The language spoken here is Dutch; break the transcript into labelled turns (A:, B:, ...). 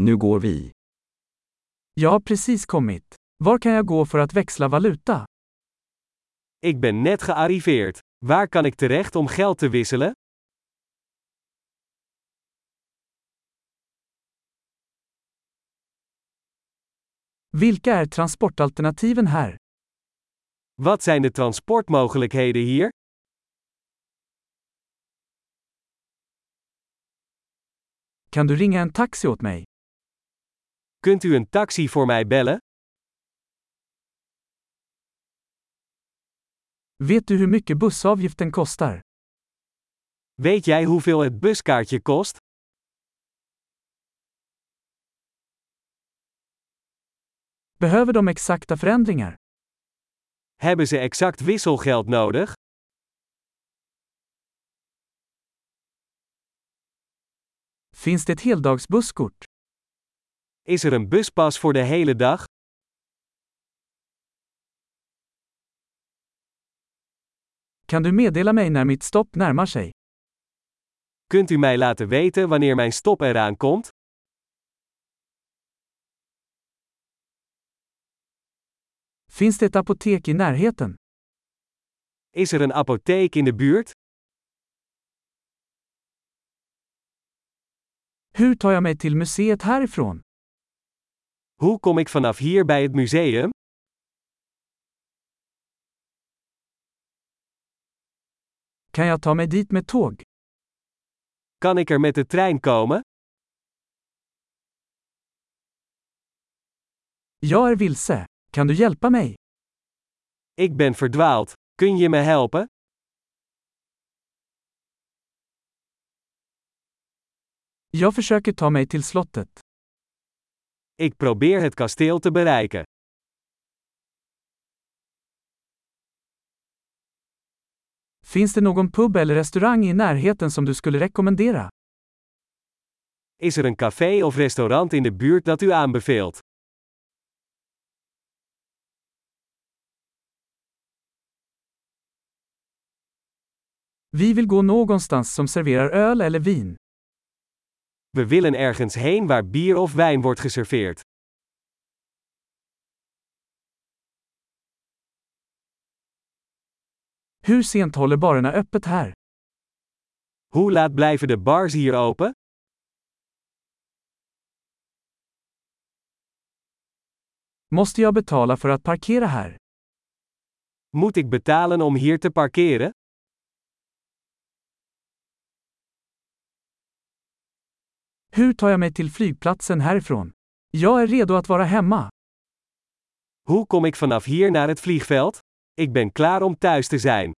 A: Nu går vi.
B: Jag har precis kommit. Var kan jag gå för att växla valuta?
C: Ik ben net gearriveerd. Waar kan ik terecht om geld te wisselen?
B: Vilka är transportalternativen här?
C: Wat zijn de transportmogelijkheden hier?
B: Kan du ringa en taxi åt mig?
C: Kunt u een taxi voor mij bellen?
B: Vet du hur mycket bussavgiften kostar?
C: Weet jij hoeveel het buskaartje kost?
B: Behöver de exakta förändringar?
C: Hebben ze exact wisselgeld nodig?
B: Finns det ett heldagsbusskort?
C: Is er een buspas voor de hele dag?
B: Kan du meddela mig när mitt stopp närmar sig?
C: Kunt u mij laten weten wanneer mijn stop eraan komt?
B: Finns det ett apotek i närheten?
C: Is er een apotheek in de buurt?
B: Hur tar jag mig till museet härifrån?
C: Hoe kom ik vanaf hier bij het museum?
B: Kan jag ta mig dit med tåg?
C: Kan ik er met de trein komen?
B: Jag är vilse. Kan du hjälpa mig?
C: Ik ben verdwaald. Kun je me helpen?
B: Jag försöker ta mig till slottet.
C: Ik probeer het kasteel te bereiken.
B: Finns det någon pub eller restaurang i närheten som du skulle rekommendera?
C: Is er een café of restaurant in de buurt dat u aanbeveelt?
B: Vi vill gå någonstans som serverar öl eller vin.
C: We willen ergens heen waar bier of wijn wordt geserveerd.
B: Hur sent håller barerna öppet här?
C: Hoe laat blijven de bars hier open?
B: Måste jag betala för att parkera här?
C: Moet ik betalen om hier te parkeren?
B: Hur tar jag mig till flygplatsen härifrån? Jag är redo att vara hemma.
C: Hoe kom ik vanaf hier naar het vliegveld? Ik ben klaar om thuis te zijn.